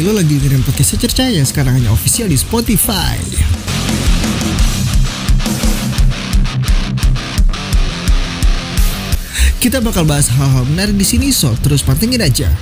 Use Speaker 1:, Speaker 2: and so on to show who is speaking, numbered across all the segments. Speaker 1: Lo lagi dengerin podcast Secerca yang sekarang hanya official di Spotify. Kita bakal bahas hal-hal menarik di sini, so terus pantengin aja.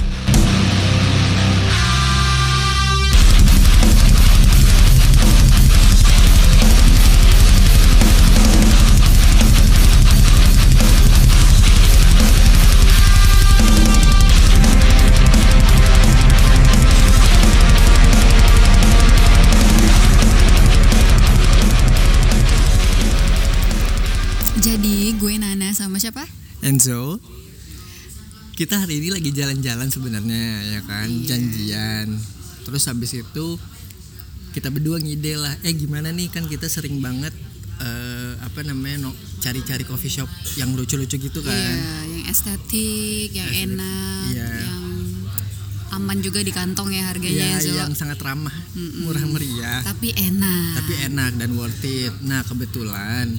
Speaker 2: Jadi gue Nana sama siapa?
Speaker 3: Enzo kita hari ini lagi jalan-jalan sebenarnya ya kan janjian terus habis itu kita berdua ngide lah eh gimana nih kan kita sering banget eh, apa namanya no- cari-cari coffee shop yang lucu-lucu gitu
Speaker 2: Iya,
Speaker 3: kan
Speaker 2: yang estetik, yang
Speaker 3: Estetik,
Speaker 2: enak,
Speaker 3: iya.
Speaker 2: yang aman juga di kantong ya harganya
Speaker 3: Iya,
Speaker 2: Zo.
Speaker 3: yang sangat ramah
Speaker 2: Mm-mm.
Speaker 3: murah meriah
Speaker 2: Tapi enak.
Speaker 3: tapi enak dan worth it nah kebetulan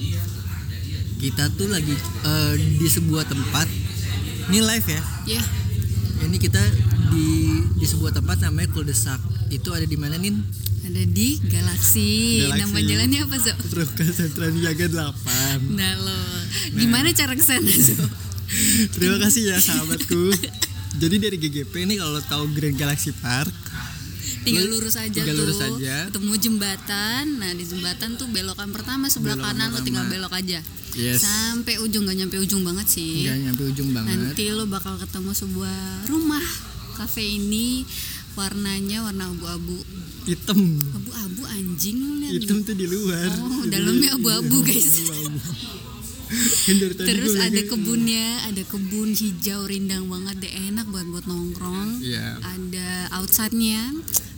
Speaker 3: kita tuh lagi eh, di sebuah tempat ini live ya
Speaker 2: ya
Speaker 3: ini kita di di sebuah tempat namanya kuldesak itu ada di mana nin
Speaker 2: ada di Galaxy.
Speaker 3: Galaxy.
Speaker 2: Nama jalannya apa Zo?
Speaker 3: Ruka Sentra Niaga 8
Speaker 2: Nah lo, gimana cara kesana Zo?
Speaker 3: Terima kasih ya sahabatku Jadi dari GGP ini kalau lo tahu Grand Galaxy Park
Speaker 2: Tinggal
Speaker 3: Lu-
Speaker 2: lurus aja
Speaker 3: tinggal
Speaker 2: tuh.
Speaker 3: lurus aja.
Speaker 2: Ketemu jembatan. Nah, di jembatan tuh belokan pertama sebelah
Speaker 3: Belokan
Speaker 2: kanan lo
Speaker 3: pertama.
Speaker 2: tinggal belok aja.
Speaker 3: Yes.
Speaker 2: Sampai ujung nggak nyampe ujung banget sih.
Speaker 3: nggak nyampe ujung banget
Speaker 2: Iya. Nanti lo bakal ketemu sebuah rumah kafe ini warnanya warna abu-abu.
Speaker 3: Hitam
Speaker 2: Abu-abu anjing lo liat
Speaker 3: Hitam tuh di luar
Speaker 2: Oh,
Speaker 3: Jadi-
Speaker 2: dalamnya abu-abu, guys.
Speaker 3: Abu-abu. Kan dari tadi
Speaker 2: Terus
Speaker 3: gua
Speaker 2: ada
Speaker 3: liatnya-
Speaker 2: kebunnya, ada kebun hijau rindang banget deh enak buat buat nongkrong.
Speaker 3: Iya.
Speaker 2: Ada outside-nya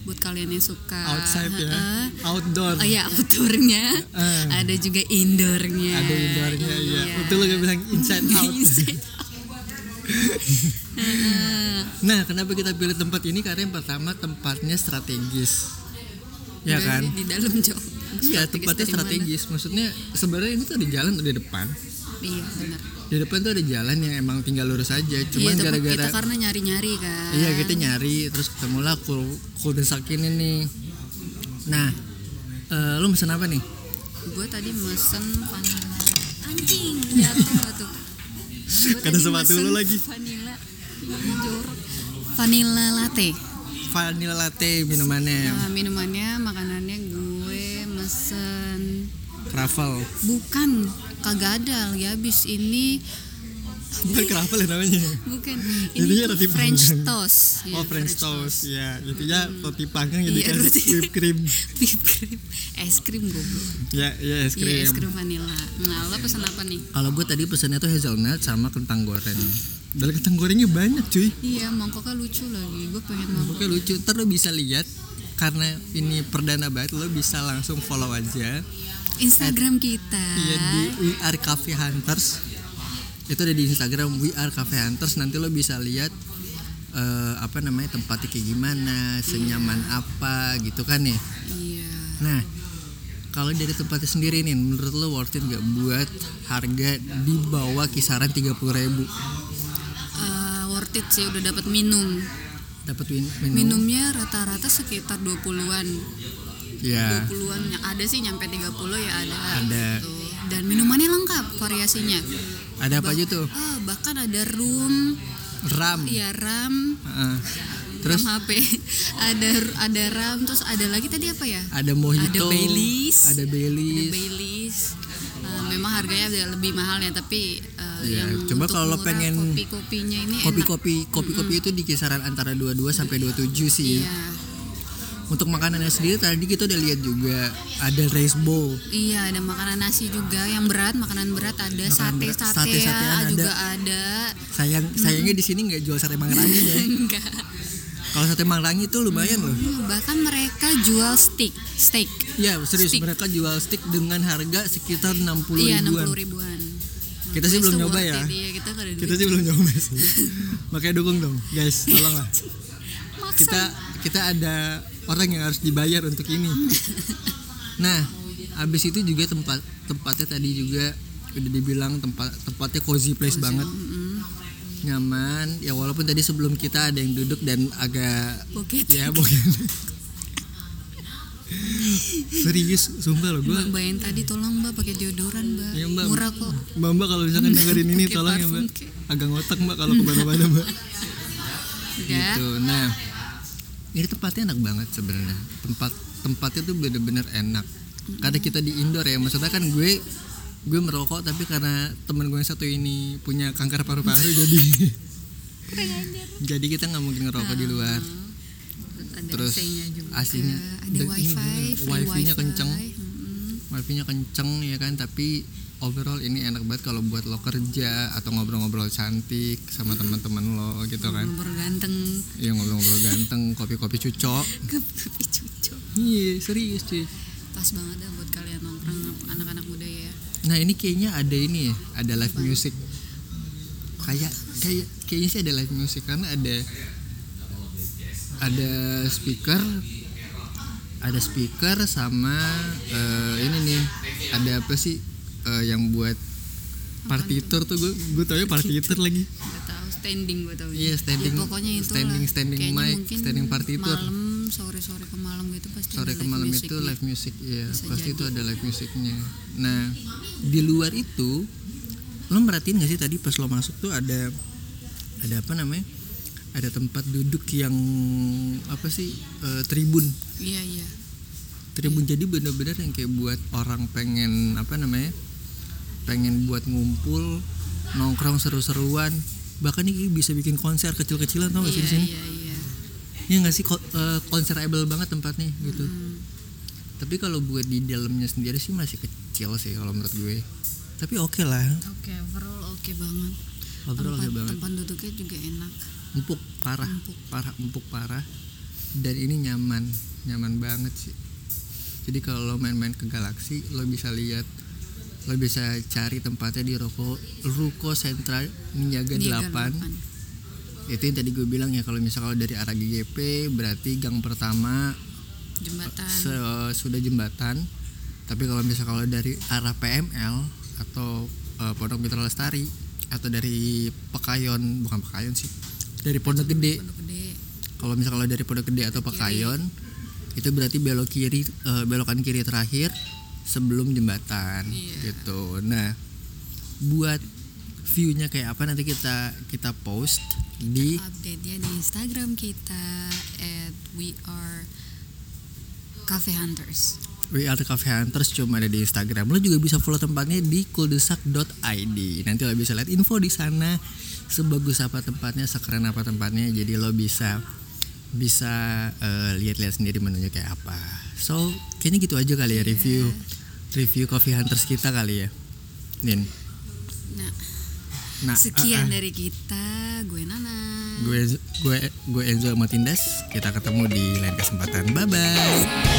Speaker 2: buat kalian yang suka
Speaker 3: Outside ya
Speaker 2: Heeh.
Speaker 3: Outdoor
Speaker 2: Ah, Oh ya outdoornya,
Speaker 3: Eh.
Speaker 2: ada juga indoornya.
Speaker 3: Ada indoornya ya Betul lo gak bilang inside out
Speaker 2: Iya. Inside out. Heeh.
Speaker 3: Nah kenapa kita pilih tempat ini Karena yang pertama tempatnya strategis Ya
Speaker 2: Dari-
Speaker 3: kan
Speaker 2: Di dalam jauh.
Speaker 3: Iya tempatnya strategis Maksudnya sebenarnya ini tuh ada jalan tuh di depan
Speaker 2: Iya benar.
Speaker 3: Di depan tuh ada jalan yang emang tinggal lurus aja
Speaker 2: Iya,
Speaker 3: Cuman
Speaker 2: tapi kita
Speaker 3: gara-gara
Speaker 2: karena nyari-nyari kan.
Speaker 3: Iya kita nyari Terus ketemulah kul kuldesak ini nih Nah eh, Lu mesen apa nih?
Speaker 2: Gue tadi mesen vanilla. Anjing jatuh tuh. Gua
Speaker 3: Kena
Speaker 2: tadi
Speaker 3: sepatu
Speaker 2: mesen
Speaker 3: lu lagi.
Speaker 2: Vanilla. jorok. Vanilla latte.
Speaker 3: Vanilla latte minumannya
Speaker 2: Nah, minumannya, makanannya gue mesen
Speaker 3: Kravel
Speaker 2: bukan kagak ada lagi habis ini
Speaker 3: Bukan Kravel ya namanya
Speaker 2: bukan
Speaker 3: Jadinya
Speaker 2: ini tuh
Speaker 3: roti
Speaker 2: French
Speaker 3: panggang.
Speaker 2: toast Iya,
Speaker 3: Oh French toast Ya intinya roti panggang jadi
Speaker 2: Iya,
Speaker 3: kan
Speaker 2: roti.
Speaker 3: whipped cream
Speaker 2: whipped cream es krim goblok
Speaker 3: Ya ya es
Speaker 2: iya es
Speaker 3: krim
Speaker 2: krim vanilla nah lo pesan apa nih
Speaker 3: Kalau gue tadi pesannya tuh hazelnut sama kentang goreng Dan kentang gorengnya banyak cuy
Speaker 2: iya mangkoknya lucu lagi gue pengen mangkok
Speaker 3: Oke lucu, ntar lo bisa lihat karena ini perdana banget lo bisa langsung follow aja
Speaker 2: Instagram kita
Speaker 3: Iya di We Are Cafe Hunters itu ada di Instagram We Are Cafe Hunters nanti lo bisa lihat eh, apa namanya tempatnya kayak gimana senyaman apa gitu kan nih
Speaker 2: iya
Speaker 3: nah kalau dari tempatnya sendiri nih menurut lo worth it gak buat harga di bawah kisaran 30.000 ribu
Speaker 2: Eh, worth it sih udah dapat minum
Speaker 3: dapat win- minum,
Speaker 2: minumnya rata-rata sekitar 20-an
Speaker 3: ya
Speaker 2: 20-an yang ada sih nyampe 30 ya ada
Speaker 3: Ada.
Speaker 2: Tuh. dan minumannya lengkap variasinya
Speaker 3: ada apa aja tuh
Speaker 2: Ah, bahkan ada room
Speaker 3: ram
Speaker 2: ya ram
Speaker 3: Heeh. terus
Speaker 2: RAM HP ada ada RAM terus ada lagi tadi apa ya
Speaker 3: ada mojito
Speaker 2: Ada Baileys. ada
Speaker 3: ada Baileys
Speaker 2: Baileys Uh, memang harganya agak lebih mahal ya tapi uh,
Speaker 3: Iya,
Speaker 2: yang
Speaker 3: coba
Speaker 2: untuk
Speaker 3: kalau lo
Speaker 2: murah,
Speaker 3: pengen
Speaker 2: kopi-kopinya ini enak
Speaker 3: kopi-kopi kopi-kopi itu di kisaran antara 22 sampai 27 sih
Speaker 2: iya
Speaker 3: untuk makanannya sendiri tadi kita udah lihat juga ada rice bowl
Speaker 2: iya ada makanan nasi juga yang berat makanan berat ada
Speaker 3: Makanan
Speaker 2: sate
Speaker 3: berat, sate-satean
Speaker 2: satean
Speaker 3: ada.
Speaker 2: juga ada
Speaker 3: sayang sayangnya di sini nggak jual sate mangrangi ya
Speaker 2: enggak
Speaker 3: kalau sate mangrangi itu lumayan loh
Speaker 2: Hmm, bahkan mereka jual steak steak
Speaker 3: ya serius
Speaker 2: Stick.
Speaker 3: mereka jual stick dengan harga sekitar 60
Speaker 2: iya enam
Speaker 3: ribuan
Speaker 2: ribuan
Speaker 3: Kita sih
Speaker 2: Makanya
Speaker 3: belum
Speaker 2: itu
Speaker 3: nyoba
Speaker 2: worth
Speaker 3: ya.
Speaker 2: it, iya, kita nggak ada
Speaker 3: kita
Speaker 2: duit.
Speaker 3: sih belum nyoba sih makanya dukung dong guys tolong lah
Speaker 2: Maksa.
Speaker 3: kita kita ada orang yang harus dibayar untuk ini nah abis itu juga tempat tempatnya tadi juga udah dibilang tempat tempatnya cozy place banget
Speaker 2: Mm-mm.
Speaker 3: nyaman ya walaupun tadi sebelum kita ada yang duduk dan agak
Speaker 2: Bukit.
Speaker 3: ya mungkin serius sumpah loh gue
Speaker 2: Mbak Bayan tadi tolong Mbak pakai deodoran Mbak.
Speaker 3: Ya, Mbak.
Speaker 2: Murah kok.
Speaker 3: Mbak Mbak kalau misalkan dengerin ini
Speaker 2: Pakai
Speaker 3: tolong ya Mbak.
Speaker 2: parfum, kek.
Speaker 3: Agak ngotak Mbak kalau kemana-mana Mbak.
Speaker 2: Udah.
Speaker 3: gitu. Nah, ini tempatnya enak banget sebenarnya. Tempat tempatnya tuh bener-bener enak. Karena kita di indoor ya, maksudnya kan gue gue merokok tapi karena teman gue yang satu ini punya kanker paru-paru jadi jadi kita nggak mungkin ngerokok di luar.
Speaker 2: Ada
Speaker 3: Terus
Speaker 2: AC-nya juga.
Speaker 3: AC-nya.
Speaker 2: Ada
Speaker 3: Dan ini
Speaker 2: wifi,
Speaker 3: bener,
Speaker 2: free
Speaker 3: wifi-nya kenceng.
Speaker 2: Mm-mm.
Speaker 3: wifi-nya kenceng ya kan tapi overall ini enak banget kalau buat lo kerja atau ngobrol-ngobrol cantik sama teman-teman lo gitu kan
Speaker 2: Nomor ganteng
Speaker 3: Iya ngobrol-ngobrol ganteng kopi-kopi cucok
Speaker 2: ke kopi cucok.
Speaker 3: iya serius cuy
Speaker 2: Pas banget dah buat kalian nongkrong anak-anak muda ya.
Speaker 3: nah ini kayaknya ada ini ya ada live music kayak kayak kayaknya sih ada live music karena ada ada speaker ada speaker sama eh, ini nih ada apa sih eh, yang buat partitur tuh gue gue tau partitur lagi
Speaker 2: Gak tahu standing gue tahu.
Speaker 3: Iya, standing-
Speaker 2: Ya, pokoknya itu
Speaker 3: standing- standing mic, standing partitur.
Speaker 2: Malam sore-sore ke malam gitu pasti
Speaker 3: sore
Speaker 2: ada
Speaker 3: ke
Speaker 2: live
Speaker 3: malam
Speaker 2: music
Speaker 3: itu
Speaker 2: ya.
Speaker 3: live music ya
Speaker 2: Bisa
Speaker 3: pasti
Speaker 2: jadi.
Speaker 3: itu ada live musiknya nah di luar itu lo merhatiin gak sih tadi pas lo masuk tuh ada ada apa namanya ada tempat duduk yang apa sih eh, tribun
Speaker 2: Iya iya.
Speaker 3: tribun jadi bener-bener yang kayak buat orang pengen apa namanya pengen buat ngumpul nongkrong seru-seruan bahkan ini bisa bikin konser kecil-kecilan tau gak
Speaker 2: Iya
Speaker 3: sih Oh, di sini
Speaker 2: iya iya.
Speaker 3: ya nggak sih ko- eh, konserable banget tempatnya gitu
Speaker 2: Hmm.
Speaker 3: tapi kalau buat di dalamnya sendiri sih masih kecil sih kalau menurut gue tapi oke lah
Speaker 2: Oke, overall oke banget.
Speaker 3: Overall oke
Speaker 2: tempat,
Speaker 3: banget.
Speaker 2: Tempat duduknya juga enak.
Speaker 3: empuk parah
Speaker 2: Empuk.
Speaker 3: parah empuk parah dan ini nyaman nyaman banget sih jadi kalau lo main-main ke Galaxy lo bisa lihat lo bisa cari tempatnya di Ruko Ruko Sentral Niaga
Speaker 2: Niaga
Speaker 3: 8
Speaker 2: delapan.
Speaker 3: itu yang tadi gue bilang ya kalau misal kalau dari arah GGP berarti gang pertama
Speaker 2: Jembatan.
Speaker 3: se- sudah jembatan tapi kalau misalnya kalau dari arah PML atau eh, Pondok Mitra Lestari atau dari Pekayon bukan Pekayon sih dari Pondok Gede
Speaker 2: Pondok Gede.
Speaker 3: kalau misalnya kalau dari Pondok Gede atau Pekayon itu berarti belok kiri eh, belokan kiri terakhir sebelum jembatan
Speaker 2: Iya.
Speaker 3: gitu nah buat viewnya kayak apa nanti kita kita post di
Speaker 2: Update-nya di Instagram kita at we are Cafe Hunters.
Speaker 3: We Are The Cafe Hunters cuma ada di Instagram. Lo juga bisa follow tempatnya di kuldesak.id. Nanti lo bisa lihat info di sana sebagus apa tempatnya, sekeren apa tempatnya. Jadi lo bisa bisa eh, lihat-lihat sendiri menunya kayak apa. So, kayaknya gitu aja
Speaker 2: Iya.
Speaker 3: kali ya review review Coffee Hunters kita kali ya. Nin.
Speaker 2: Nah,
Speaker 3: Nah,
Speaker 2: sekian
Speaker 3: eh, eh,
Speaker 2: dari kita. Gue Nana.
Speaker 3: gue gue gue Enzo Matindas. Kita ketemu di lain kesempatan. Bye bye.